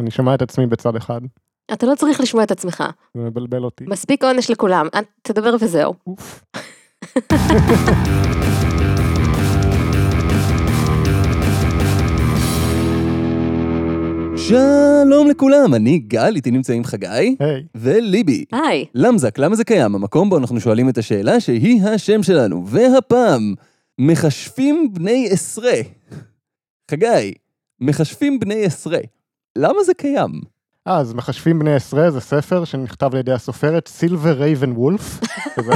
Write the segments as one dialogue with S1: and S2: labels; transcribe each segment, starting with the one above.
S1: אני שומע את עצמי בצד אחד,
S2: אתה לא צריך לשמוע את עצמך.
S1: זה מבלבל אותי.
S2: מספיק עונש לכולם. אל תדבר וזהו.
S1: אוף.
S3: שלום לכולם, אני גל, איתי נמצאים חגי
S1: היי,
S3: וליבי.
S2: היי.
S3: למזק, למה זה קיים? המקום בו אנחנו שואלים את השאלה שהיא השם שלנו. והפעם, מכשפים בני עשרה. חגי, מכשפים בני עשרה. למה זה קיים?
S1: אה, אז מחשבים בני עשרה זה ספר שנכתב על ידי הסופרת סילבר רייבן וולף, שזה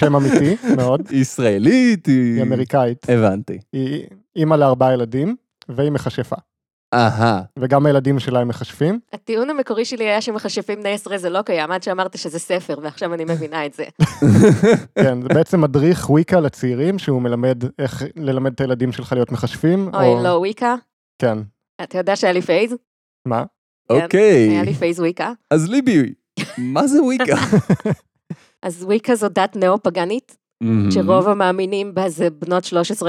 S1: שם אמיתי מאוד,
S3: היא ישראלית, היא...
S1: היא אמריקאית,
S3: הבנתי.
S1: היא אימא לארבעה ילדים והיא מכשפה,
S3: אהה.
S1: וגם הילדים שלה הם מכשפים,
S2: הטיעון המקורי שלי היה שמכשפים בני עשרה זה לא קיים, עד שאמרת שזה ספר, ועכשיו אני מבינה את זה.
S1: כן, זה בעצם מדריך וויקה לצעירים שהוא מלמד איך ללמד את הילדים שלך להיות מכשפים,
S2: אוי, לא, וויקה.
S1: כן,
S2: אתה יודע שהיה לי פייז?
S1: מה?
S3: אוקיי.
S2: היה לי פייז וויקה.
S3: אז ליבי, מה זה וויקה?
S2: אז וויקה זו דת נאו-פגאנית,
S3: Mm-hmm.
S2: שרוב המאמינים בה זה בנות 13-14,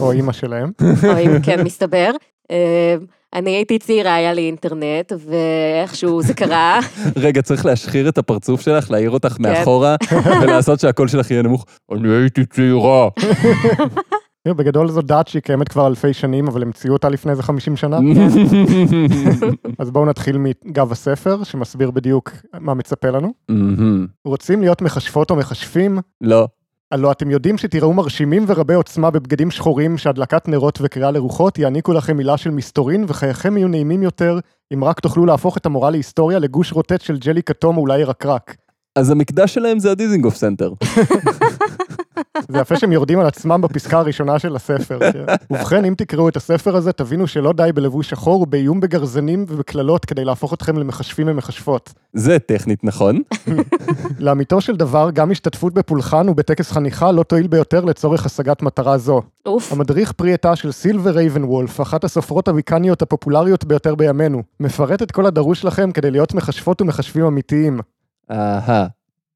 S1: או אימא שלהם,
S2: או אם כן מסתבר. אה, אני הייתי צעירה, היה לי אינטרנט, ואיכשהו זה קרה.
S3: רגע, צריך להשחיר את הפרצוף שלך, להעיר אותך מאחורה, ולעשות שהקול שלך יהיה נמוך. אני הייתי צעירה.
S1: תראו, בגדול זו דת שהיא קיימת כבר אלפי שנים אבל המציאו אותה לפני איזה 50 שנה,
S3: כן.
S1: אז בואו נתחיל מגב הספר שמסביר בדיוק מה מצפה לנו.
S3: מהמם.
S1: רוצים להיות מכשפות או מכשפים?
S3: לא.
S1: הלא אתם יודעים שתיראו מרשימים ורבי עוצמה בבגדים שחורים שהדלקת נרות וקריאה לרוחות יעניקו לכם מילה של מסתורין וחייכם יהיו נעימים יותר אם רק תוכלו להפוך את המורה להיסטוריה לגוש רוטט של ג'לי כתום או אולי ירקרק.
S3: אז המקדש שלהם זה הדיזינגוף סנטר.
S1: זה יפה שהם יורדים על עצמם בפסקה הראשונה של הספר. כן. ובכן, אם תקראו את הספר הזה, תבינו שלא די בלבוש שחור, באיום בגרזנים ובקללות כדי להפוך אתכם למכשפים ומכשפות.
S3: זה טכנית, נכון?
S1: לאמיתו של דבר, גם השתתפות בפולחן ובטקס חניכה לא תועיל ביותר לצורך השגת מטרה זו.
S2: אוף.
S1: המדריך פרי עטה של סילבר רייבן וולף, אחת הסופרות הוויקניות הפופולריות ביותר בימינו, מפרט את כל הדרוש לכם כדי להיות מכשפות ומכשפים אמיתיים.
S3: אהה.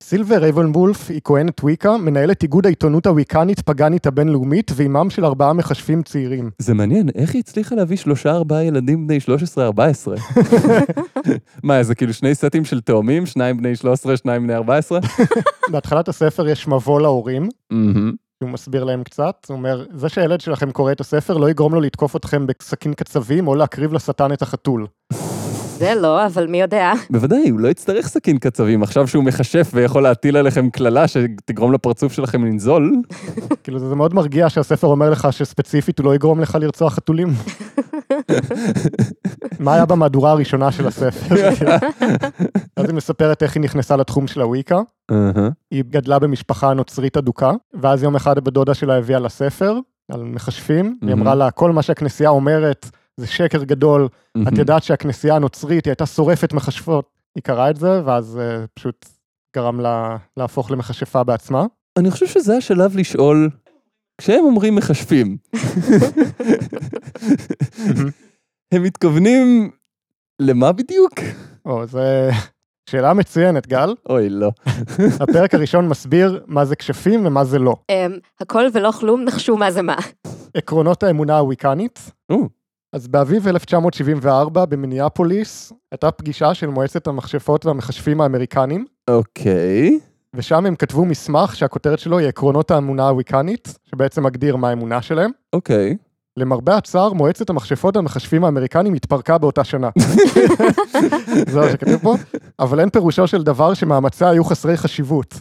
S1: סילבר רייבן וולף היא כהנת ויקה, מנהלת איגוד העיתונות הוויקנית פגאנית הבינלאומית ואימם של ארבעה מכשפים צעירים.
S3: זה מעניין, איך היא הצליחה להביא שלושה ארבעה ילדים בני 13-14? מה, זה כאילו שני סטים של תאומים, שניים בני 13, שניים בני 14?
S1: בהתחלת הספר יש מבוא להורים,
S3: מהמם.
S1: הוא מסביר להם קצת, הוא אומר, זה שהילד שלכם קורא את הספר לא יגרום לו לתקוף אתכם בסכין קצבים או להקריב לשטן את החתול.
S2: זה לא, אבל מי יודע.
S3: בוודאי, הוא לא יצטרך סכין קצבים עכשיו שהוא מכשף ויכול להטיל עליכם קללה שתגרום לפרצוף שלכם לנזול.
S1: כאילו זה זה מאוד מרגיע שהספר אומר לך שספציפית הוא לא יגרום לך לרצוח חתולים. מה היה במהדורה הראשונה של הספר? אז היא מספרת איך היא נכנסה לתחום של הוויקה.
S3: אהה.
S1: היא גדלה במשפחה נוצרית אדוקה, ואז יום אחד הבת דודה שלה הביאה לה ספר על מכשפים, היא
S3: מהמם.
S1: אמרה לה, כל מה שהכנסייה אומרת זה שקר גדול,
S3: Mm-hmm.
S1: את יודעת שהכנסייה הנוצרית היא הייתה שורפת מכשפות. היא קראה את זה, ואז אה, פשוט גרם לה להפוך למכשפה בעצמה.
S3: אני חושב שזה השלב לשאול, כשהם אומרים מכשפים, הם מתכוונים למה בדיוק?
S1: או, זה... שאלה מצוינת, גל.
S3: אוי, לא.
S1: הפרק הראשון מסביר מה זה כשפים ומה זה לא.
S2: אמ, הכל ולא כלום, נחשו מה זה מה.
S1: עקרונות האמונה הוויקנית.
S3: או.
S1: אז באביב 1974 במיניאפוליס הייתה פגישה של מועצת המכשפות והמכשפים האמריקנים,
S3: אוקיי.
S1: ושם הם כתבו מסמך שהכותרת שלו היא עקרונות האמונה הוויקנית, שבעצם מגדיר מה האמונה שלהם.
S3: אוקיי.
S1: למרבה הצער, מועצת המכשפות והמכשפים האמריקנים התפרקה באותה שנה. זה מה שכתוב פה, אבל אין פירושו של דבר שמאמציה היו חסרי חשיבות.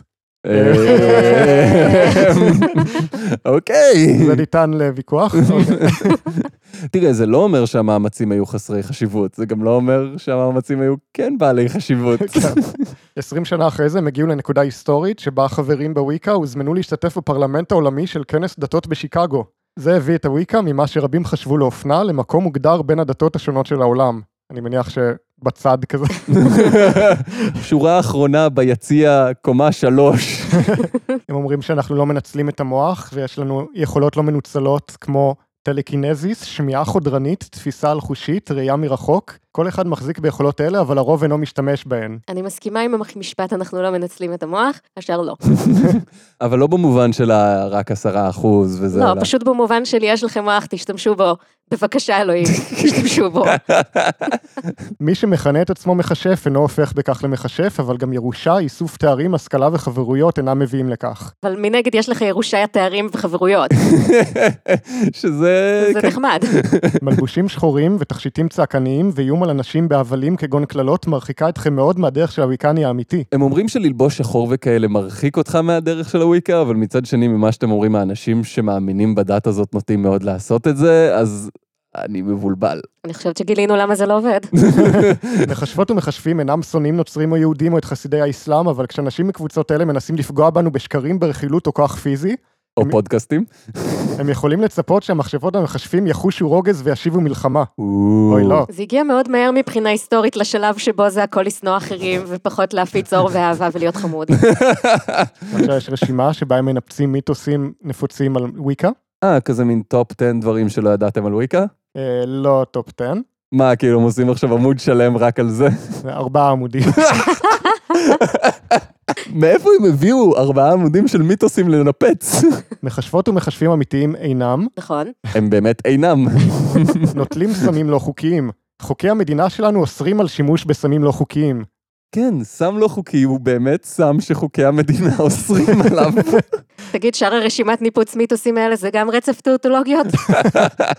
S3: אמ, אוקיי.
S1: זה ניתן לוויכוח.
S3: תראה, זה לא אומר שהמאמצים היו חסרי חשיבות, זה גם לא אומר שהמאמצים היו כן בעלי חשיבות.
S1: כן. 20 שנה אחרי זה הם הגיעו לנקודה היסטורית שבה החברים בוויקה הוזמנו להשתתף בפרלמנט העולמי של כנס דתות בשיקגו. זה הביא את הוויקה ממה שרבים חשבו לאופנה למקום מוגדר בין הדתות השונות של העולם. אני מניח שבצד כזה.
S3: שורה אחרונה ביציע, קומה שלוש.
S1: הם אומרים שאנחנו לא מנצלים את המוח ויש לנו יכולות לא מנוצלות כמו טלקינזיס, שמיעה חודרנית, תפיסה אלחושית, ראייה מרחוק. כל אחד מחזיק ביכולות אלה, אבל הרוב אינו משתמש בהן.
S2: אני מסכימה עם המשפט, אנחנו לא מנצלים את המוח, השאר לא.
S3: אבל לא במובן של ה- רק עשרה אחוז וזה.
S2: לא,
S3: אלא-
S2: פשוט במובן של יש לכם מוח, תשתמשו בו בבקשה, אלוהים, תשתמשו בו.
S1: מי שמכנה את עצמו מכשף אינו הופך בכך למכשף, אבל גם ירושה, איסוף תארים, השכלה וחברויות אינם מביאים לכך.
S2: אבל מנגד יש לך ירושיית תארים וחברויות,
S3: שזה...
S2: זה נחמד.
S1: מלבושים שחורים ותכשיטים צעקניים ואיום על אנשים בהבלים כגון קללות מרחיקה אתכם מאוד מהדרך של הוויקני האמיתי.
S3: הם אומרים שללבוש שחור וכאלה מרחיק אותך מהדרך של הוויקה, אבל מצד שני, ממה שאתם אומרים, האנשים שמאמינים בדת הזאת נוטים מאוד לעשות את זה, אז אני מבולבל.
S2: אני חושבת שגילינו למה זה לא עובד.
S1: מכשפות ומכשפים אינם שונאים נוצרים או יהודים או את חסידי האסלאם, אבל כשאנשים מקבוצות אלה מנסים לפגוע בנו בשקרים, ברכילות או כוח פיזי,
S3: או פודקאסטים.
S1: הם יכולים לצפות שהמכשפות והמכשפים יחושו רוגז וישיבו מלחמה. אוי לא.
S2: זה הגיע מאוד מהר מבחינה היסטורית לשלב שבו זה הכל לשנוא אחרים, ופחות להפיץ אור ואהבה ולהיות חמוד.
S1: עכשיו יש רשימה שבה הם מנפצים מיתוסים נפוצים על וויקה.
S3: אה, כזה מין טופ 10 דברים שלא ידעתם על וויקה?
S1: אה, לא טופ 10,
S3: מה, כאילו, הם עושים עכשיו עמוד שלם רק על זה?
S1: זה ארבעה עמודים.
S3: מאיפה הם הביאו ארבעה עמודים של מיתוסים לנפץ?
S1: מכשפות ומכשפים אמיתיים אינם,
S2: נכון.
S3: הם באמת אינם.
S1: נוטלים סמים לא חוקיים. חוקי המדינה שלנו אוסרים על שימוש בסמים לא חוקיים.
S3: כן, סם לא חוקי הוא באמת סם שחוקי המדינה אוסרים עליו.
S2: תגיד, שאר הרשימת ניפוץ מיתוסים האלה זה גם רצף טאוטולוגיות?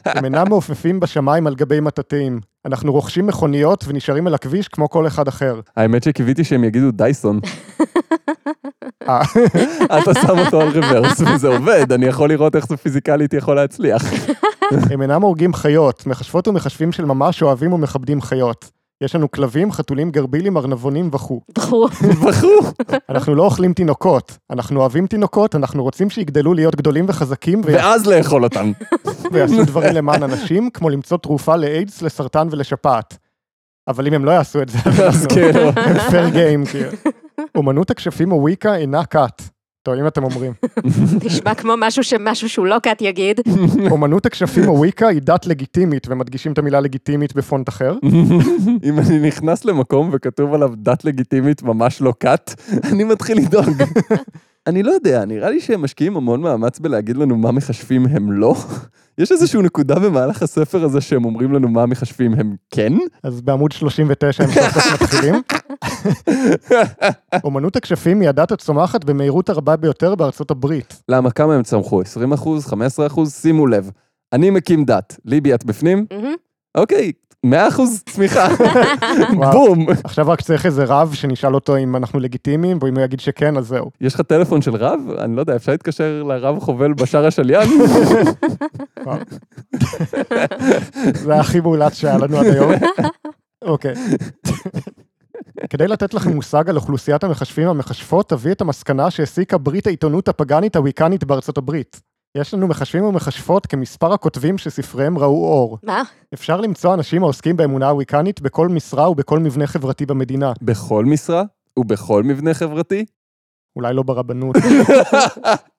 S1: הם אינם מעופפים בשמיים על גבי מטאטאים. אנחנו רוכשים מכוניות ונשארים על הכביש כמו כל אחד אחר.
S3: האמת שקיוויתי שהם יגידו דייסון.
S1: אה,
S3: אתה שם אותו על רוורס וזה עובד, אני יכול לראות איך זה פיזיקלית יכול להצליח.
S1: הם אינם הורגים חיות, מכשפות ומכשפים של ממש אוהבים ומכבדים חיות. יש לנו כלבים, חתולים, גרבילים, ארנבונים וכו'.
S2: בחור.
S3: בחור.
S1: אנחנו לא אוכלים תינוקות, אנחנו אוהבים תינוקות, אנחנו רוצים שיגדלו להיות גדולים וחזקים ו-
S3: ואז לאכול אותם.
S1: ויעשו דברים למען אנשים, כמו למצוא תרופה לאיידס, לסרטן ולשפעת. אבל אם הם לא יעשו את זה,
S3: אז
S1: אז כאילו,
S3: כאילו,
S1: הם פייר גיים, כאילו. אומנות הכשפים או ויקה אינה קאט. טוב, אם אתם אומרים.
S2: נשמע כמו משהו שמשהו שהוא לא קאט יגיד.
S1: אומנות הכשפים או ויקה היא דת לגיטימית, ומדגישים את המילה לגיטימית בפונט אחר.
S3: אם אני נכנס למקום וכתוב עליו דת לגיטימית ממש לא כת, אני מתחיל לדאוג. אני לא יודע, נראה לי שהם משקיעים המון מאמץ בלהגיד לנו מה מחשבים הם לא. יש איזושהי נקודה במהלך הספר הזה שהם אומרים לנו מה מחשבים הם כן?
S1: אז בעמוד 39 הם סוף סוף מתחילים. אומנות הכשפים היא הדת הצומחת במהירות הרבה ביותר בארצות הברית.
S3: למה? כמה הם צמחו? 20 אחוז? 15 אחוז? שימו לב, אני מקים דת. ליבי, את בפנים?
S2: מהמם.
S3: אוקיי, 100 אחוז צמיחה.
S1: וואו.
S3: בום.
S1: עכשיו רק צריך איזה רב שנשאל אותו אם אנחנו לגיטימיים, ואם הוא יגיד שכן, אז זהו.
S3: יש לך טלפון של רב? אני לא יודע, אפשר להתקשר לרב חובל בשאר השליין?
S1: וואו. זה היה הכי מאולץ שהיה לנו עד היום. אוקיי. כדי לתת לכם מושג על אוכלוסיית המכשפים והמכשפות, תביא את המסקנה שהסיקה ברית העיתונות הפגאנית הוויקנית בארצות הברית. יש לנו מכשפים ומכשפות כמספר הכותבים שספריהם ראו אור.
S2: מה?
S1: אפשר למצוא אנשים העוסקים באמונה הוויקנית בכל משרה ובכל מבנה חברתי במדינה.
S3: בכל משרה ובכל מבנה חברתי?
S1: אולי לא ברבנות.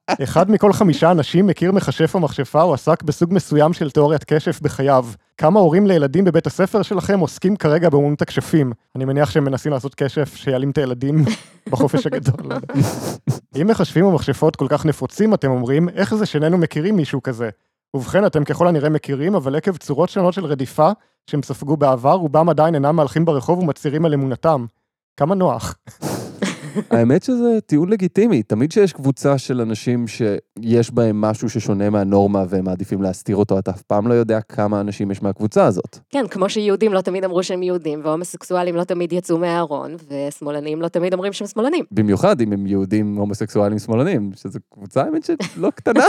S1: אחד מכל חמישה אנשים מכיר מכשף או מכשפה או עסק בסוג מסוים של תיאוריית כשף בחייו. כמה הורים לילדים בבית הספר שלכם עוסקים כרגע באמנות הכשפים? אני מניח שהם מנסים לעשות כשף שיעלים את הילדים בחופש הגדול. לא יודע. אם מכשפים ומכשפות כל כך נפוצים, אתם אומרים, איך זה שאיננו מכירים מישהו כזה? ובכן, אתם ככל הנראה מכירים, אבל עקב צורות שונות של רדיפה שהם ספגו בעבר, רובם עדיין אינם מהלכים ברחוב ומצהירים על אמונתם. כמה נוח.
S3: האמת שזה טיעון לגיטימי. תמיד שיש קבוצה של אנשים שיש בהם משהו ששונה מהנורמה והם מעדיפים להסתיר אותו, אתה אף פעם לא יודע כמה אנשים יש מהקבוצה הזאת.
S2: כן, כמו שיהודים לא תמיד אמרו שהם יהודים, והומוסקסואלים לא תמיד יצאו מהארון, ושמאלנים לא תמיד אומרים שהם שמאלנים.
S3: במיוחד אם הם יהודים הומוסקסואלים שמאלנים, שזו קבוצה, האמת, שלא קטנה.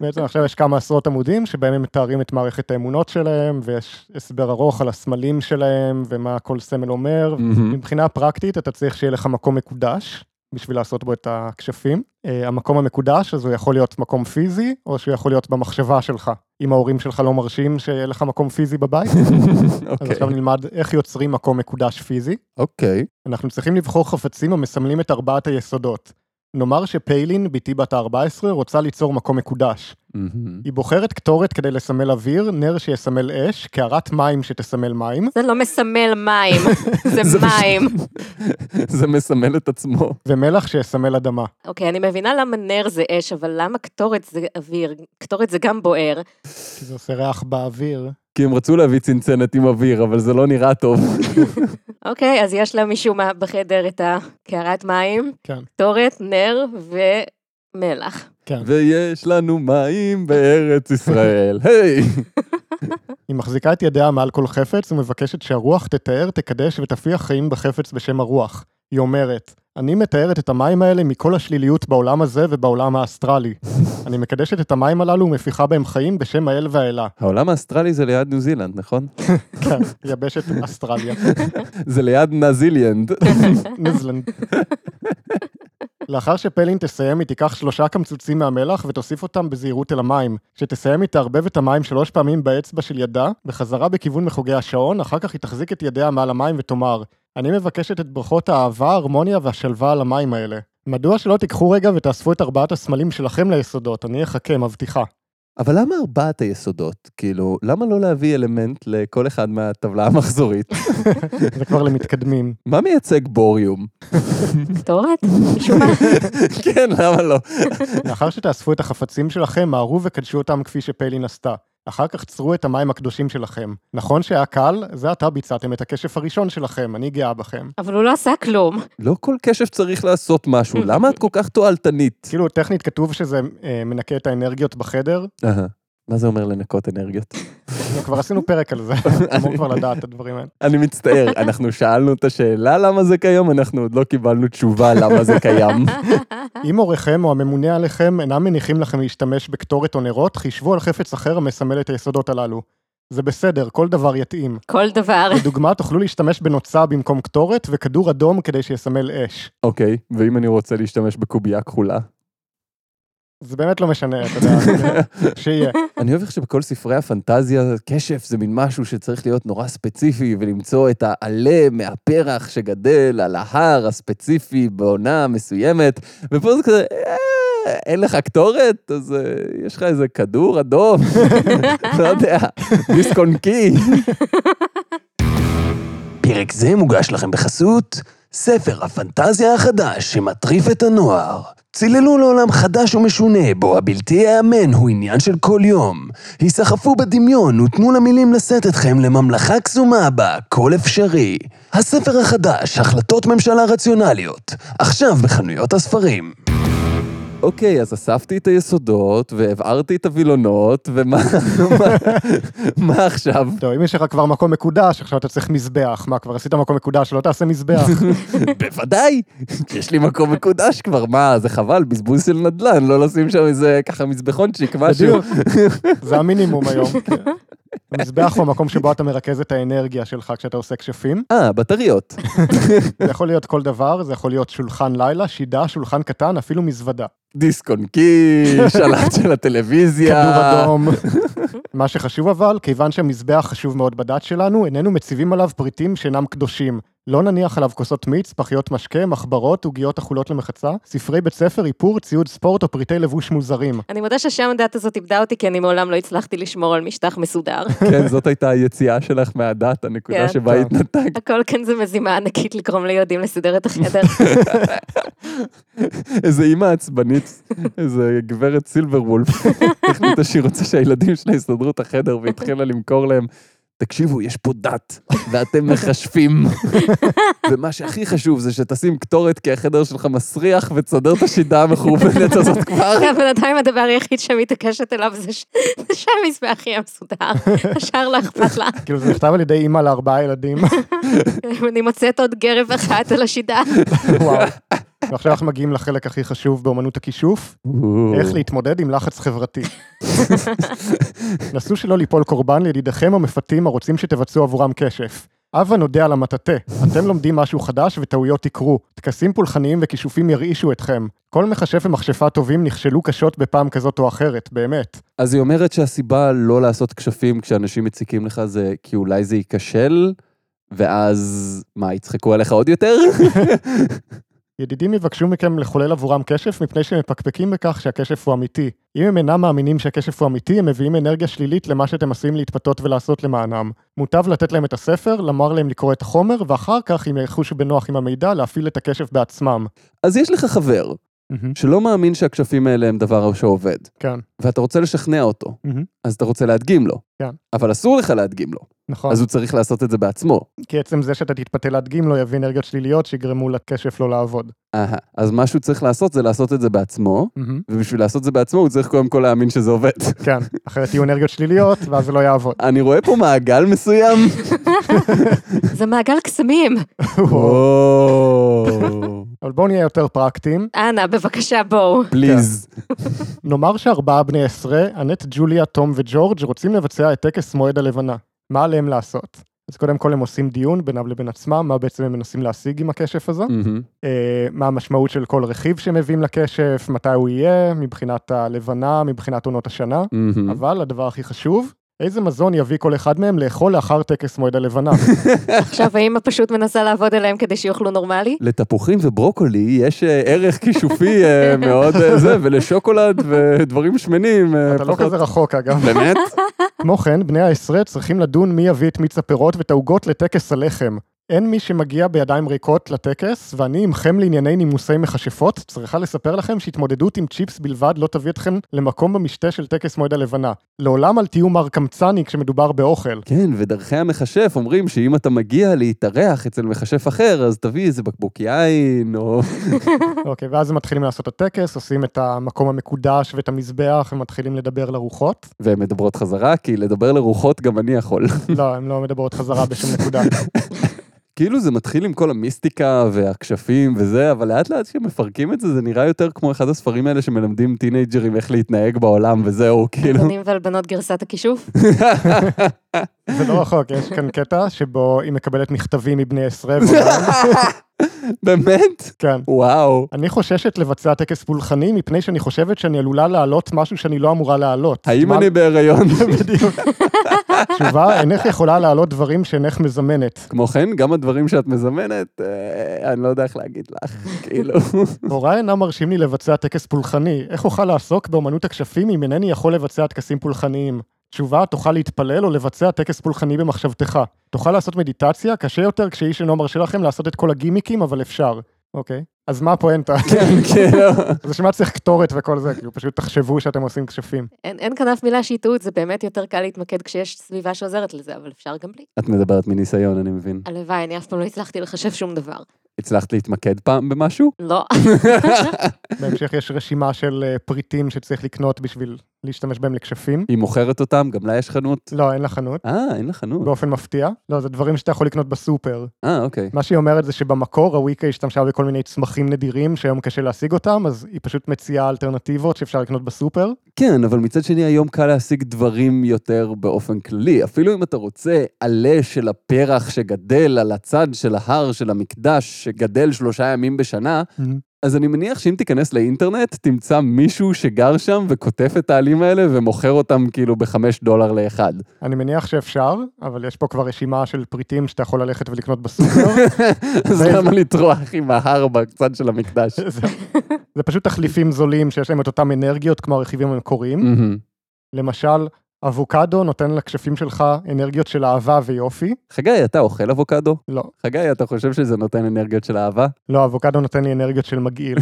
S1: בעצם עכשיו יש כמה עשרות עמודים שבהם הם מתארים את מערכת האמונות שלהם, ויש הסבר ארוך על הסמלים שלהם ומה כל סמל אומר.
S3: מהמם.
S1: מבחינה פרקטית, אתה צריך שיהיה לך מקום מקודש בשביל לעשות בו את הכשפים. אה, המקום המקודש, אז הוא יכול להיות מקום פיזי, או שהוא יכול להיות במחשבה שלך. אם ההורים שלך לא מרשים שיהיה לך מקום פיזי בבית, אז
S3: אוקיי.
S1: עכשיו נלמד איך יוצרים מקום מקודש פיזי.
S3: אוקיי.
S1: אנחנו צריכים לבחור חפצים המסמלים את ארבעת היסודות. נאמר שפיילין, בתי בת ה-14, רוצה ליצור מקום מקודש.
S3: מהמם.
S1: היא בוחרת קטורת כדי לסמל אוויר, נר שיסמל אש, קערת מים שתסמל מים,
S2: זה לא מסמל מים, זה
S3: זה פשוט-
S2: מים.
S3: זה מסמל את עצמו.
S1: ומלח שיסמל אדמה.
S2: אוקיי, אני מבינה למה נר זה אש, אבל למה קטורת זה אוויר? קטורת זה גם בוער.
S1: כי זה עושה ריח באוויר.
S3: כי הם רצו להביא צנצנת עם אוויר, אבל זה לא נראה טוב.
S2: אוקיי, אז יש לה משום מה בחדר את הקערת מים,
S1: כן,
S2: קטורת, נר ומלח.
S1: כן.
S3: ויש לנו מים בארץ ישראל, היי!
S1: היא מחזיקה את ידיה מעל כל חפץ ומבקשת שהרוח תתאר, תקדש ותפיח חיים בחפץ בשם הרוח. היא אומרת, אני מתארת את המים האלה מכל השליליות בעולם הזה ובעולם האסטרלי. אני מקדשת את המים הללו ומפיחה בהם חיים בשם האל והאלה.
S3: העולם האסטרלי זה ליד ניו זילנד, נכון?
S1: כן, יבשת אסטרליה.
S3: זה ליד נזיליאנד.
S1: ניוזלנד. לאחר שפלין תסיים, היא תיקח שלושה קמצוצים מהמלח ותוסיף אותם בזהירות אל המים. כשתסיים היא תערבב את המים שלוש פעמים באצבע של ידה, בחזרה בכיוון מחוגי השעון, אחר כך היא תחזיק את ידיה מעל המים ותאמר, אני מבקשת את ברכות האהבה, ההרמוניה והשלווה על המים האלה. מדוע שלא תיקחו רגע ותאספו את ארבעת הסמלים שלכם ליסודות? אני אחכה, מבטיחה.
S3: אבל למה ארבעת היסודות? כאילו, למה לא להביא אלמנט לכל אחד מהטבלה המחזורית?
S1: זה כבר למתקדמים.
S3: מה מייצג בוריום?
S2: קטורת? משום מה.
S3: כן, למה לא?
S1: לאחר שתאספו את החפצים שלכם, מהרו וקדשו אותם כפי שפיילין עשתה. אחר כך צרו את המים הקדושים שלכם. נכון שהיה קל? זה עתה ביצעתם את הכשף הראשון שלכם, אני גאה בכם.
S2: אבל הוא לא עשה כלום.
S3: לא כל קשף צריך לעשות משהו, למה את כל כך תועלתנית?
S1: כאילו, טכנית כתוב שזה אה, מנקה את האנרגיות בחדר,
S3: אהה. מה זה אומר לנקות אנרגיות?
S1: אבל כבר עשינו פרק על זה, אמור כבר לדעת את הדברים האלה.
S3: אני מצטער, אנחנו שאלנו את השאלה למה זה קיים, אנחנו עוד לא קיבלנו תשובה למה זה קיים.
S1: אם הוריכם או הממונה עליכם אינם מניחים לכם להשתמש בקטורת או נרות, חישבו על חפץ אחר המסמל את היסודות הללו. זה בסדר, כל דבר יתאים.
S2: כל דבר.
S1: לדוגמה, תוכלו להשתמש בנוצה במקום קטורת וכדור אדום כדי שיסמל אש.
S3: אוקיי, ואם אני רוצה להשתמש בקובייה כחולה?
S1: זה באמת לא משנה, אתה יודע, שיהיה.
S3: אני אוהב איך שבכל ספרי הפנטזיה, קשף זה מין משהו שצריך להיות נורא ספציפי, ולמצוא את העלה מהפרח שגדל על ההר הספציפי בעונה מסוימת, ופה זה כזה, "אה, אין לך קטורת? אז אה, יש לך איזה כדור אדום, לא יודע, דיסקונקי. פרק זה מוגש לכם בחסות ספר הפנטזיה החדש שמטריף את הנוער. ציללו לעולם חדש ומשונה, בו הבלתי ייאמן הוא עניין של כל יום. היסחפו בדמיון ותנו למילים לשאת אתכם לממלכה קסומה בה, כל אפשרי. הספר החדש, החלטות ממשלה רציונליות, עכשיו בחנויות הספרים. אוקיי, אז אספתי את היסודות, והבערתי את הווילונות, ומה מה עכשיו?
S1: טוב, אם יש לך כבר מקום מקודש, עכשיו אתה צריך מזבח. מה, כבר עשית מקום מקודש, לא תעשה מזבח.
S3: בוודאי, יש לי מקום מקודש כבר, מה, זה חבל, בזבוז של נדל"ן, לא לשים שם איזה ככה מזבחונצ'יק, משהו.
S1: בדיוק. זה המינימום היום. המזבח הוא המקום שבו אתה מרכז את האנרגיה שלך כשאתה עושה כשפים.
S3: אה, בטריות.
S1: זה יכול להיות כל דבר, זה יכול להיות שולחן לילה, שידה, שולחן קטן, אפילו מזוודה.
S3: דיסקון קי, שלט של הטלוויזיה.
S1: כדור אדום. מה שחשוב אבל, כיוון שהמזבח חשוב מאוד בדת שלנו, איננו מציבים עליו פריטים שאינם קדושים. לא נניח עליו כוסות מיץ, פחיות משקה, מחברות, עוגיות אכולות למחצה, ספרי בית ספר, איפור, ציוד ספורט או פריטי לבוש מוזרים.
S2: אני מודה ששם הדת הזאת איבדה אותי, כי אני מעולם לא הצלחתי לשמור על משטח מסודר.
S3: כן, זאת הייתה היציאה שלך מהדת, הנקודה
S2: כן.
S3: שבה
S1: טוב.
S3: התנתקת.
S2: הכל כאן זה מזימה ענקית לגרום ליהודים לסדר את החדר.
S3: איזה אימא עצבנית, איזה גברת סילברוולף, החליטה שהיא רוצה שהילדים שלה יסדרו את החדר והתחילה למכור להם. תקשיבו, יש פה דת, ואתם מחשבים. ומה שהכי חשוב זה שתשים קטורת, כי החדר שלך מסריח, ותסדר את השידה המחורבנת הזאת כבר.
S2: כן, בינתיים הדבר היחיד שמתעקשת אליו זה ש- זה שהמזבח יהיה מסודר. השאר לא אכפת לה.
S1: כאילו זה נכתב על ידי אימא לארבעה ילדים,
S2: אני מוצאת עוד גרב אחת על השידה.
S1: וואו. ועכשיו אנחנו מגיעים לחלק הכי חשוב באמנות הכישוף, איך להתמודד עם לחץ חברתי. נסו שלא ליפול קורבן לידידיכם המפתים הרוצים שתבצעו עבורם כשף. הבה נודה על המטאטא, אתם לומדים משהו חדש וטעויות יקרו. טקסים פולחניים וכישופים ירעישו אתכם. כל מכשף ומכשפה טובים נכשלו קשות בפעם כזאת או אחרת, באמת.
S3: אז היא אומרת שהסיבה לא לעשות כשפים כשאנשים מציקים לך זה כי אולי זה ייכשל, ואז, מה, יצחקו עליך עוד יותר?
S1: ידידים יבקשו מכם לחולל עבורם כשף מפני שהם מפקפקים בכך שהכשף הוא אמיתי. אם הם אינם מאמינים שהכשף הוא אמיתי, הם מביאים אנרגיה שלילית למה שאתם עשויים להתפתות ולעשות למענם. מוטב לתת להם את הספר, לומר להם לקרוא את החומר, ואחר כך, אם יחושו בנוח עם המידע, להפעיל את הכשף בעצמם.
S3: אז יש לך חבר
S1: מהמם,
S3: שלא מאמין שהכשפים האלה הם דבר שעובד,
S1: כן,
S3: ואתה רוצה לשכנע אותו,
S1: מהמם,
S3: אז אתה רוצה להדגים לו.
S1: כן.
S3: אבל אסור לך להדגים לו,
S1: נכון.
S3: אז הוא צריך לעשות את זה בעצמו.
S1: כי עצם זה שאתה תתפתה להדגים לו לא יביא אנרגיות שליליות שיגרמו לכשף לא לעבוד.
S3: אהה, אז מה שהוא צריך לעשות זה לעשות את זה בעצמו,
S1: מהמם,
S3: ובשביל לעשות את זה בעצמו הוא צריך קודם כל להאמין שזה עובד.
S1: כן, אחרת יהיו אנרגיות שליליות, ואז זה לא יעבוד.
S3: אני רואה פה מעגל מסוים.
S2: זה מעגל קסמים.
S3: וואו.
S1: אבל בואו נהיה יותר פרקטיים.
S2: אנא, בבקשה, בואו.
S3: פליז.
S1: כן. נאמר שארבעה בני עשרה, אנט, ג'וליה, תום וג'ורג' רוצים לבצע את טקס מועד הלבנה. מה עליהם לעשות? אז קודם כל הם עושים דיון בינם לבין עצמם, מה בעצם הם מנסים להשיג עם הכשף הזה,
S3: מהמם.
S1: אה, מה המשמעות של כל רכיב שמביאים לכשף, מתי הוא יהיה, מבחינת הלבנה, מבחינת עונות השנה,
S3: מהמם.
S1: אבל הדבר הכי חשוב, איזה מזון יביא כל אחד מהם לאכול לאחר טקס מועד הלבנה.
S2: עכשיו האמא פשוט מנסה לעבוד עליהם כדי שיאכלו נורמלי.
S3: לתפוחים וברוקולי יש אה, ערך כישופי אה, מאוד אה, זה, ולשוקולד ודברים שמנים. אה,
S1: אתה לא
S3: פחות.
S1: כזה רחוק אגב.
S3: באמת?
S1: כמו כן, בני העשרה צריכים לדון מי יביא את מיץ הפירות ואת העוגות לטקס הלחם. אין מי שמגיע בידיים ריקות לטקס, ואני עמכם לענייני נימוסי מכשפות, צריכה לספר לכם שהתמודדות עם צ'יפס בלבד לא תביא אתכם למקום במשתה של טקס מועד הלבנה. לעולם אל תהיו מר קמצני כשמדובר באוכל.
S3: כן, ודרכי המכשף אומרים שאם אתה מגיע להתארח אצל מכשף אחר, אז תביא איזה בקבוק יין, או...
S1: אוקיי, ואז הם מתחילים לעשות את הטקס, עושים את המקום המקודש ואת המזבח, ומתחילים לדבר לרוחות.
S3: והן מדברות חזרה, כי לדבר לרוחות גם אני יכול.
S1: לא, הן לא מדברות חזרה בשום נקודה.
S3: כאילו זה מתחיל עם כל המיסטיקה והכשפים וזה, אבל לאט לאט כשמפרקים את זה, זה נראה יותר כמו אחד הספרים האלה שמלמדים טינג'רים איך להתנהג בעולם וזהו, כאילו.
S2: בנים והלבנות גרסת הכישוף.
S1: זה לא רחוק, יש כאן קטע שבו היא מקבלת מכתבים מבני עשרה, ואומרים-
S3: באמת?
S1: כן.
S3: וואו.
S1: אני חוששת לבצע טקס פולחני מפני שאני חושבת שאני עלולה להעלות משהו שאני לא אמורה להעלות.
S3: האם
S1: מה-
S3: אני בהיריון?
S1: בדיוק. תשובה, אינך יכולה להעלות דברים שאינך מזמנת.
S3: כמו כן, גם הדברים שאת מזמנת, אה, אני לא יודע איך להגיד לך, כאילו.
S1: הוריי אינם מרשים לי לבצע טקס פולחני. איך אוכל לעסוק באמנות הכשפים אם אינני יכול לבצע טקסים פולחניים? תשובה, תוכל להתפלל או לבצע טקס פולחני במחשבתך. תוכל לעשות מדיטציה, קשה יותר כשאיש אינו מרשה לכם לעשות את כל הגימיקים, אבל אפשר. אוקיי. אז מה הפואנטה?
S3: כן, כאילו.
S1: אז בשביל מה צריך קטורת וכל זה? כאילו, פשוט תחשבו שאתם עושים כשפים.
S2: אין אין כאן אף מילה שהיא טעות, זה באמת יותר קל להתמקד כשיש סביבה שעוזרת לזה, אבל אפשר גם בלי.
S3: את מדברת מניסיון, אני מבין.
S2: הלוואי, אני אף פעם לא הצלחתי לחשב שום דבר.
S3: הצלחת להתמקד פעם במשהו?
S2: לא.
S1: בהמשך יש רשימה של אה, פריטים שצריך לקנות בשביל להשתמש בהם לכשפים.
S3: היא מוכרת אותם, גם לה יש חנות.
S1: לא, אין לה חנות,
S3: אה, אין לה חנות.
S1: באופן מפתיע. לא, זה דברים שאתה יכול לקנות בסופר.
S3: אה, אוקיי.
S1: מה שהיא אומרת זה שבמקור הוויקה השתמשה בכל מיני צמחים נדירים שהיום קשה להשיג אותם, אז היא פשוט מציעה אלטרנטיבות שאפשר לקנות בסופר.
S3: כן, אבל מצד שני, היום קל להשיג דברים יותר באופן כללי. אפילו אם אתה רוצה עלה של הפרח שגדל על הצד של ההר של המקדש, שגדל שלושה ימים בשנה, אז אני מניח שאם תיכנס לאינטרנט, תמצא מישהו שגר שם וכותף את העלים האלה ומוכר אותם כאילו בחמש דולר לאחד.
S1: אני מניח שאפשר, אבל יש פה כבר רשימה של פריטים שאתה יכול ללכת ולקנות בסופר.
S3: אז למה לטרוח עם ההר בצד של המקדש?
S1: זה- זה פשוט תחליפים זולים שיש להם את אותם אנרגיות כמו הרכיבים המקוריים.
S3: מהמם.
S1: למשל, אבוקדו נותן לכשפים שלך אנרגיות של אהבה ויופי.
S3: חגי, אתה אוכל אבוקדו?
S1: לא,
S3: חגי, אתה חושב שזה נותן אנרגיות של אהבה?
S1: לא, אבוקדו נותן לי אנרגיות של מגעיל.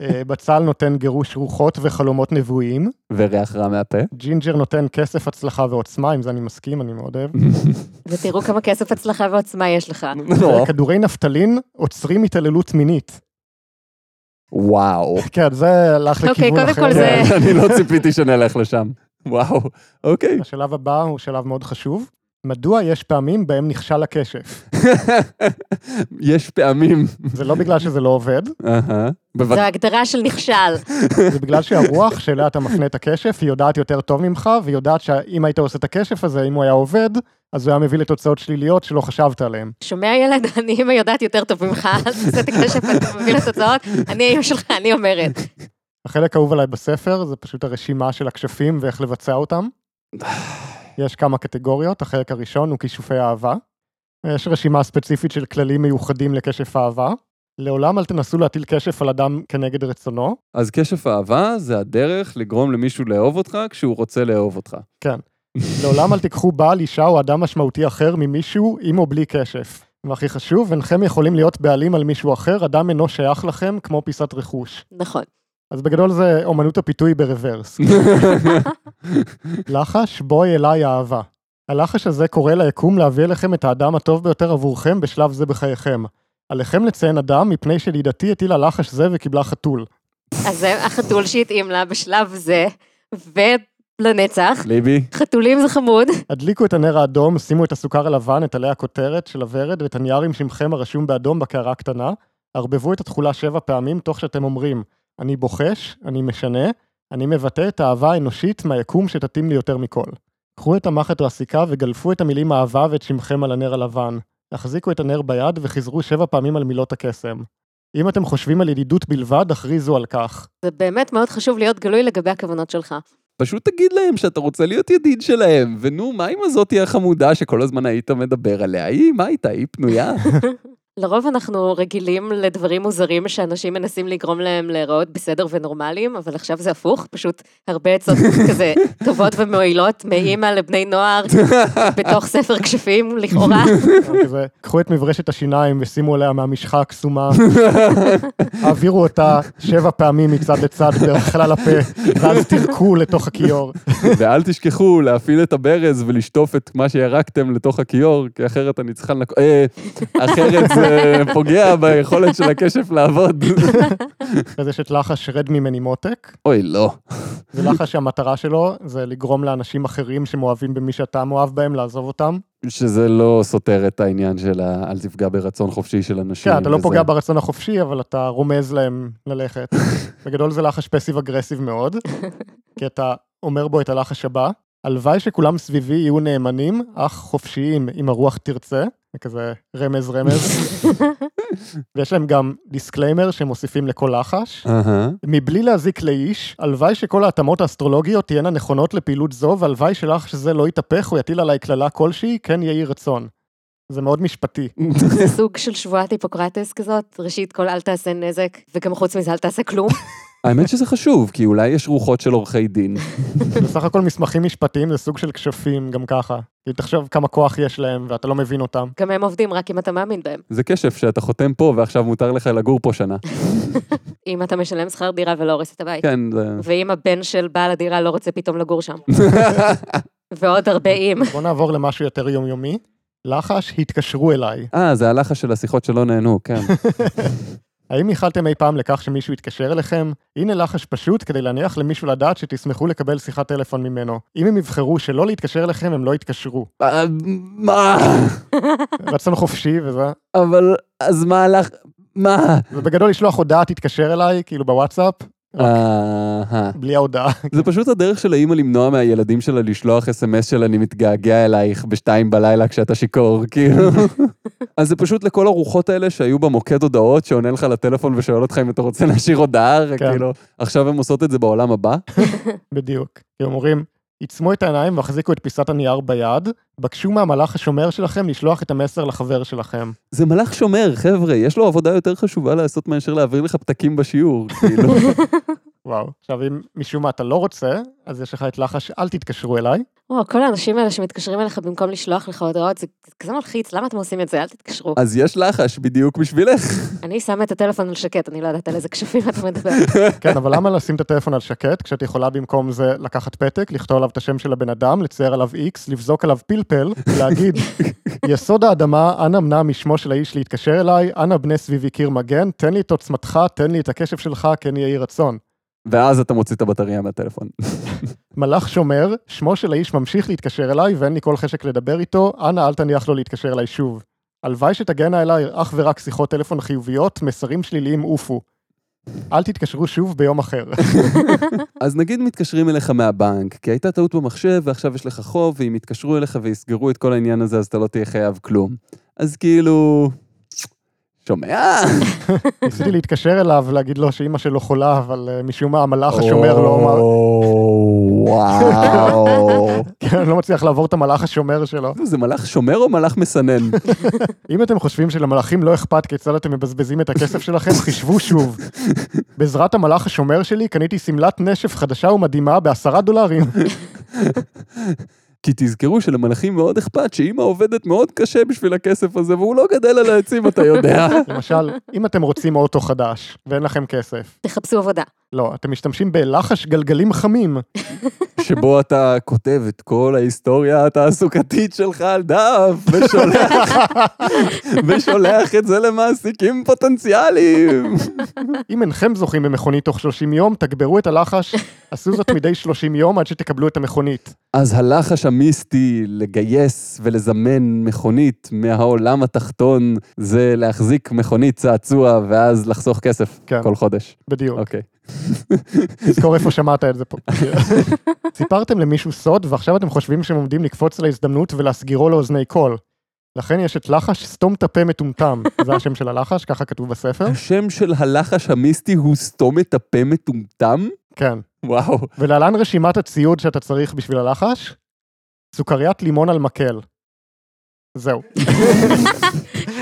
S1: אה, בצל נותן גירוש רוחות וחלומות נבואיים.
S3: וריח רע מהפה?
S1: ג'ינג'ר נותן כסף, הצלחה ועוצמה, עם זה אני מסכים, אני מאוד אוהב.
S2: ותראו כמה כסף הצלחה ועוצמה יש לך.
S3: נורא.
S1: אה, כדורי נפטלין עוצרים התעללות מינית.
S3: וואו.
S1: כן, זה הלך
S2: אוקיי,
S1: לכיוון אחר.
S2: קודם כל זה-
S3: כן, אני לא ציפיתי שנלך לשם. וואו, אוקיי.
S1: השלב הבא הוא שלב מאוד חשוב. מדוע יש פעמים בהם נכשל הכשף?
S3: יש פעמים.
S1: זה לא בגלל שזה לא עובד,
S3: אהה. בבת-
S2: זו הגדרה של נכשל.
S1: זה בגלל שהרוח שאליה אתה מפנה את הכשף, היא יודעת יותר טוב ממך, והיא יודעת שאם היית עושה את הכשף הזה, אם הוא היה עובד, אז הוא היה מביא לתוצאות שליליות שלא חשבת עליהן.
S2: שומע ילד, אני אימא יודעת יותר טוב ממך, אל תעשה את הכשף, אתה מבין לתוצאות, אני האימא שלך, אני אומרת.
S1: החלק האהוב עליי בספר זה פשוט הרשימה של הכשפים ואיך לבצע אותם. יש כמה קטגוריות, החלק הראשון הוא כישופי אהבה. יש רשימה ספציפית של כללים מיוחדים לכשף אהבה. לעולם אל תנסו להטיל כשף על אדם כנגד רצונו.
S3: אז כשף אהבה זה הדרך לגרום למישהו לאהוב אותך כשהוא רוצה לאהוב אותך.
S1: כן. לעולם אל תיקחו בעל, אישה או אדם משמעותי אחר ממישהו עם או בלי כשף. והכי חשוב, אינכם יכולים להיות בעלים על מישהו אחר, אדם אינו שייך לכם כמו פיסת רכוש.
S2: נכון.
S1: אז בגדול זה אומנות הפיתוי ברוורס. לחש, בואי אליי אהבה. הלחש הזה קורא ליקום להביא אליכם את האדם הטוב ביותר עבורכם בשלב זה בחייכם. עליכם לציין אדם, מפני שלידתי הטילה לחש זה וקיבלה חתול.
S2: אז זה החתול שהתאים לה בשלב זה, ולנצח.
S3: ליבי.
S2: חתולים זה חמוד.
S1: הדליקו את הנר האדום, שימו את הסוכר הלבן, את עלי הכותרת של הוורד ואת הנייר עם שמכם הרשום באדום בקערה הקטנה. ערבבו את התכולה שבע פעמים תוך שאתם אומרים, אני בוחש, אני משנה, אני מבטא את האהבה האנושית מהיקום שתתאים לי יותר מכל. קחו את המחט או הסיכה וגלפו את המילים אהבה ואת שמכם על הנר הלבן. החזיקו את הנר ביד וחזרו שבע פעמים על מילות הקסם. אם אתם חושבים על ידידות בלבד, הכריזו על כך.
S2: זה באמת מאוד חשוב להיות גלוי לגבי הכוונות שלך.
S3: פשוט תגיד להם שאתה רוצה להיות ידיד שלהם, ונו, מה עם הזאתי החמודה שכל הזמן היית מדבר עליה? היא, מה איתה? היא פנויה.
S2: לרוב אנחנו רגילים לדברים מוזרים שאנשים מנסים לגרום להם להיראות בסדר ונורמליים, אבל עכשיו זה הפוך, פשוט הרבה עצות כזה טובות ומועילות מאימא לבני נוער, בתוך ספר כשפים, לכאורה.
S1: כן, כזה, קחו את מברשת השיניים ושימו עליה מהמשחה הקסומה, העבירו אותה שבע פעמים מצד לצד בחלל הפה, ואז תירקו לתוך הכיור.
S3: ואל תשכחו להפעיל את הברז ולשטוף את מה שירקתם לתוך הכיור, כי אחרת אני צריכה לנק... אה, אחרת זה... פוגע ביכולת של הקשף לעבוד.
S1: אז יש את לחש רד ממני מותק.
S3: אוי, לא.
S1: זה לחש שהמטרה שלו זה לגרום לאנשים אחרים שמאוהבים במי שאתה מאוהב בהם לעזוב אותם.
S3: שזה לא סותר את העניין של ה- אל תפגע ברצון חופשי של אנשים.
S1: כן, אתה לא
S3: כאילו, וזה.
S1: פוגע ברצון החופשי, אבל אתה רומז להם ללכת. בגדול זה לחש פסיב אגרסיב מאוד, כי אתה אומר בו את הלחש הבא. הלוואי שכולם סביבי יהיו נאמנים, אך חופשיים אם הרוח תרצה. זה כזה רמז רמז. ויש להם גם דיסקליימר שמוסיפים לכל לחש.
S3: אהה.
S1: מבלי להזיק לאיש, הלוואי שכל ההתאמות האסטרולוגיות תהיינה נכונות לפעילות זו, והלוואי שלחש זה לא יתהפך או יטיל עליי קללה כלשהי, כן יהי רצון. זה מאוד משפטי.
S2: זה סוג של שבועת היפוקרטס כזאת, ראשית כל אל תעשה נזק, וגם חוץ מזה אל תעשה כלום.
S3: האמת שזה חשוב, כי אולי יש רוחות של עורכי דין.
S1: בסך הכל מסמכים משפטיים זה סוג של כשפים, גם ככה. כי תחשוב כמה כוח יש להם, ואתה לא מבין אותם.
S2: גם הם עובדים רק אם אתה מאמין בהם.
S3: זה כשף שאתה חותם פה ועכשיו מותר לך לגור פה שנה.
S2: אם אתה משלם שכר דירה ולא הורס את הבית.
S3: כן, זה...
S2: ואם הבן של בעל הדירה לא רוצה פתאום לגור שם. ועוד הרבה אם.
S1: בוא נעבור למשהו יותר יומיומי. לחש, התקשרו אליי.
S3: אה, זה הלחש של השיחות שלא נהנו, כן.
S1: האם ייחלתם אי פעם לכך שמישהו יתקשר אליכם? הנה לחש פשוט כדי להניח למישהו לדעת שתשמחו לקבל שיחת טלפון ממנו. אם הם יבחרו שלא להתקשר אליכם, הם לא יתקשרו.
S3: אה, מה?
S1: רצון חופשי וזה.
S3: אבל, אז מה הלך... מה?
S1: זה בגדול לשלוח הודעה, תתקשר אליי, כאילו בוואטסאפ,
S3: אהה.
S1: בלי ההודעה.
S3: זה פשוט הדרך של האימא למנוע מהילדים שלה לשלוח אס.אם.אס של אני מתגעגע אלייך בשתיים בלילה כשאתה שיכור, כאילו. אז זה פשוט לכל הרוחות האלה שהיו במוקד הודעות, שעונה לך לטלפון ושואל אותך אם אתה רוצה להשאיר הודעה, רק
S1: כן.
S3: כאילו, עכשיו הם עושות את זה בעולם הבא.
S1: בדיוק. כי הם אומרים, עיצמו את העיניים והחזיקו את פיסת הנייר ביד, בקשו מהמלאך השומר שלכם לשלוח את המסר לחבר שלכם.
S3: זה מלאך שומר, חבר'ה, יש לו עבודה יותר חשובה לעשות מאשר להעביר לך פתקים בשיעור, כאילו.
S1: וואו. עכשיו, אם משום מה אתה לא רוצה, אז יש לך את לחש, אל תתקשרו אליי.
S2: וואו, כל האנשים האלה שמתקשרים אליך במקום לשלוח לך הודעות, זה כזה מלחיץ, למה אתם עושים את זה? אל תתקשרו.
S3: אז יש לחש בדיוק בשבילך.
S2: אני שמה את הטלפון על שקט, אני לא יודעת על איזה כשפים אתה מדבר.
S1: כן, אבל למה לשים את הטלפון על שקט, כשאת יכולה במקום זה לקחת פתק, לכתוב עליו את השם של הבן אדם, לצייר עליו איקס, לבזוק עליו פלפל, להגיד, יסוד האדמה, אנא מנע משמו של האיש להתקשר אליי, אנא בנה סביבי קיר מגן, תן לי את עוצמתך, תן לי את הקשב שלך, כן יהי רצון.
S3: ואז אתה מוציא את הבטריה מהטלפון.
S1: מלאך שומר, שמו של האיש ממשיך להתקשר אליי ואין לי כל חשק לדבר איתו, אנא אל תניח לו להתקשר אליי שוב. הלוואי שתגענה אליי אך ורק שיחות טלפון חיוביות, מסרים שליליים עופו. אל תתקשרו שוב ביום אחר.
S3: אז נגיד מתקשרים אליך מהבנק, כי הייתה טעות במחשב ועכשיו יש לך חוב, ואם יתקשרו אליך ויסגרו את כל העניין הזה, אז אתה לא תהיה חייב כלום. אז כאילו... שומע?
S1: ניסיתי לא להתקשר אליו, להגיד לו שאימא שלו חולה, אבל אה, משום מה המלאך השומר לא אמר...
S3: וואו.
S1: כן, לא מצליח לעבור את המלאך השומר שלו.
S3: זה מלאך שומר או מלאך מסנן?
S1: אם אתם חושבים שלמלאכים לא אכפת כיצד אתם מבזבזים את הכסף שלכם, חישבו שוב. בעזרת המלאך השומר שלי קניתי שמלת נשף חדשה ומדהימה בעשרה דולרים.
S3: כי תזכרו שלמלאכים מאוד אכפת שאימא עובדת מאוד קשה בשביל הכסף הזה, והוא לא גדל על העצים, אתה יודע.
S1: למשל, אם אתם רוצים אוטו חדש ואין לכם כסף,
S2: תחפשו עבודה.
S1: לא, אתם משתמשים בלחש גלגלים חמים.
S3: שבו אתה כותב את כל ההיסטוריה התעסוקתית שלך על דף, ושולח, ושולח את זה למעסיקים פוטנציאליים.
S1: אם אינכם זוכים במכונית תוך 30 יום, תגברו את הלחש, עשו זאת מדי 30 יום עד שתקבלו את המכונית.
S3: אז הלחש המיסטי לגייס ולזמן מכונית מהעולם התחתון זה להחזיק מכונית צעצוע ואז לחסוך כסף
S1: כן.
S3: כל חודש.
S1: בדיוק.
S3: אוקיי.
S1: תזכור איפה שמעת את זה פה. סיפרתם למישהו סוד, ועכשיו אתם חושבים שהם עומדים לקפוץ על ההזדמנות ולהסגירו לאוזני כל. לכן יש את לחש סתום את הפה מטומטם, זה השם של הלחש, ככה כתוב בספר.
S3: השם של הלחש המיסטי הוא סתום את הפה מטומטם?
S1: כן.
S3: וואו.
S1: ולהלן רשימת הציוד שאתה צריך בשביל הלחש, סוכריית לימון על מקל. זהו.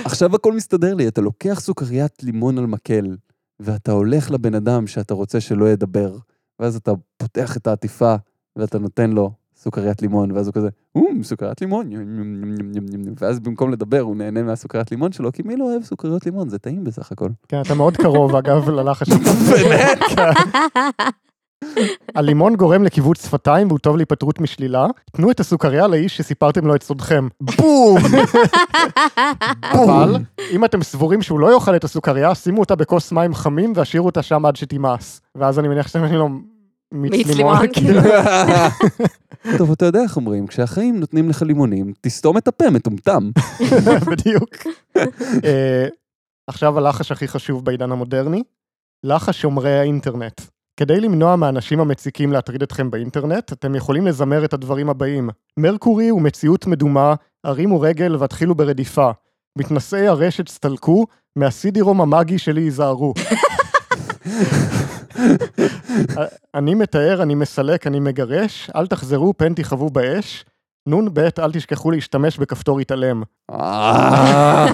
S3: עכשיו הכל מסתדר לי, אתה לוקח סוכריית לימון על מקל, ואתה הולך לבן אדם שאתה רוצה שלא ידבר, ואז אתה פותח את העטיפה, ואתה נותן לו סוכריית לימון, ואז הוא כזה, אום, סוכריית לימון, יום, יום, יום, יום, יום, יום." ואז במקום לדבר, הוא נהנה מהסוכריית לימון שלו, כי מי לא אוהב סוכריות לימון? זה טעים בסך הכל.
S1: כן, אתה מאוד קרוב, אגב, ללחש. באמת? הלימון גורם לכיווץ שפתיים והוא טוב להיפטרות משלילה. תנו את הסוכריה לאיש שסיפרתם לו את סודכם.
S3: בום!
S1: אבל אם אתם סבורים שהוא לא יאכל את הסוכריה, שימו אותה בכוס מים חמים והשאירו אותה שם עד שתימאס. ואז אני מניח שאתם לו
S2: מיץ
S1: מיץ
S2: לימון,
S1: לימון. כן.
S2: כאילו.
S3: טוב, אתה יודע איך אומרים, כשהחיים נותנים לך לימונים, תסתום את הפה, מטומטם.
S1: בדיוק. אה, עכשיו הלחש הכי חשוב בעידן המודרני, לחש שומרי האינטרנט. כדי למנוע מהאנשים המציקים להטריד אתכם באינטרנט, אתם יכולים לזמר את הדברים הבאים: מרקורי הוא מציאות מדומה, הרימו רגל והתחילו ברדיפה. מתנשאי הרשת סתלקו, מהסידירום המאגי שלי היזהרו. אני מתאר, אני מסלק, אני מגרש, אל תחזרו, פן תכאבו באש. נ"ב, אל תשכחו להשתמש בכפתור התעלם.
S3: אה,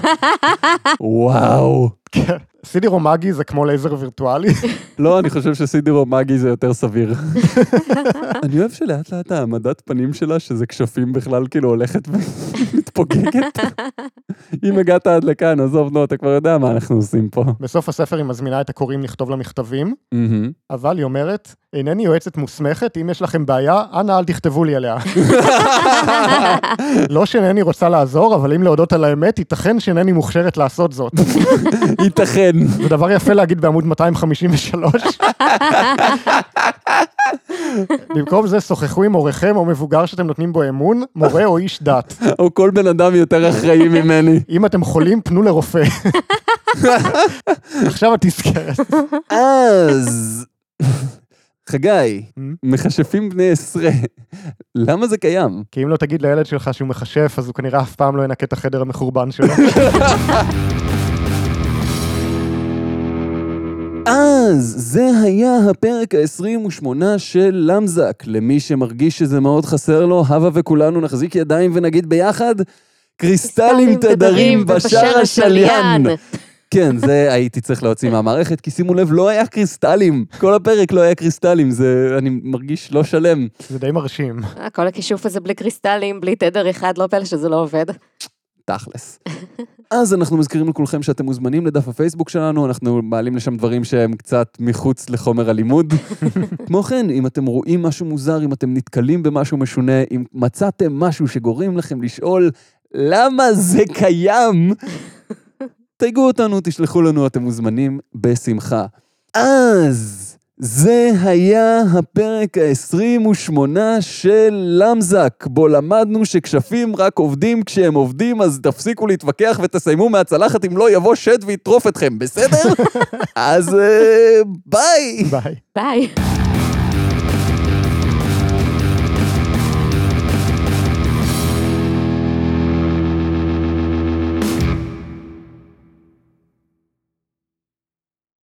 S3: וואו.
S1: סידי רומגי זה כמו לייזר וירטואלי.
S3: לא, אני חושב שסידירו מאגי זה יותר סביר. אני אוהב שלאט לאט העמדת פנים שלה, שזה כשפים בכלל, כאילו הולכת ומתפוגגת. אם הגעת עד לכאן, עזוב, נו, אתה כבר יודע מה אנחנו עושים פה.
S1: בסוף הספר היא מזמינה את הקוראים לכתוב לה מכתבים, אבל היא אומרת, אינני יועצת מוסמכת, אם יש לכם בעיה, אנא אל תכתבו לי עליה. לא שאינני רוצה לעזור, אבל אם להודות על האמת, ייתכן שאינני מוכשרת לעשות זאת.
S3: ייתכן.
S1: זה דבר יפה להגיד בעמוד 253. במקום זה, שוחחו עם הוריכם או מבוגר שאתם נותנים בו אמון, מורה או איש דת.
S3: או כל בן אדם יותר אחראי ממני.
S1: אם אתם חולים, פנו לרופא. עכשיו התזכרת.
S3: אז... חגי,
S1: Hmm?
S3: מכשפים בני עשרה, למה זה קיים?
S1: כי אם לא תגיד לילד שלך שהוא מכשף, אז הוא כנראה אף פעם לא ינקה את החדר המחורבן שלו.
S3: אז זה היה הפרק ה-28 של למזק. למי שמרגיש שזה מאוד חסר לו, הבה וכולנו נחזיק ידיים ונגיד ביחד, קריסטלים תדרים בשער השליין. כן, זה הייתי צריך להוציא מהמערכת, כי שימו לב, לא היה קריסטלים. כל הפרק לא היה קריסטלים, זה... אני מרגיש לא שלם.
S1: זה די מרשים.
S2: אה, כל הכישוף הזה בלי קריסטלים, בלי תדר אחד, לא פלא שזה לא עובד.
S3: תכלס. אז אנחנו מזכירים לכולכם שאתם מוזמנים לדף הפייסבוק שלנו, אנחנו מעלים לשם דברים שהם קצת מחוץ לחומר הלימוד. כמו כן, אם אתם רואים משהו מוזר, אם אתם נתקלים במשהו משונה, אם מצאתם משהו שגורם לכם לשאול למה זה קיים, תייגו אותנו, תשלחו לנו, אתם מוזמנים בשמחה. אז... זה היה הפרק ה-28 של למזק, בו למדנו שכשפים רק עובדים כשהם עובדים, אז תפסיקו להתווכח ותסיימו מהצלחת אם לא יבוא שד ויטרוף אתכם, בסדר? אז אה, ביי!
S1: ביי.
S2: ביי.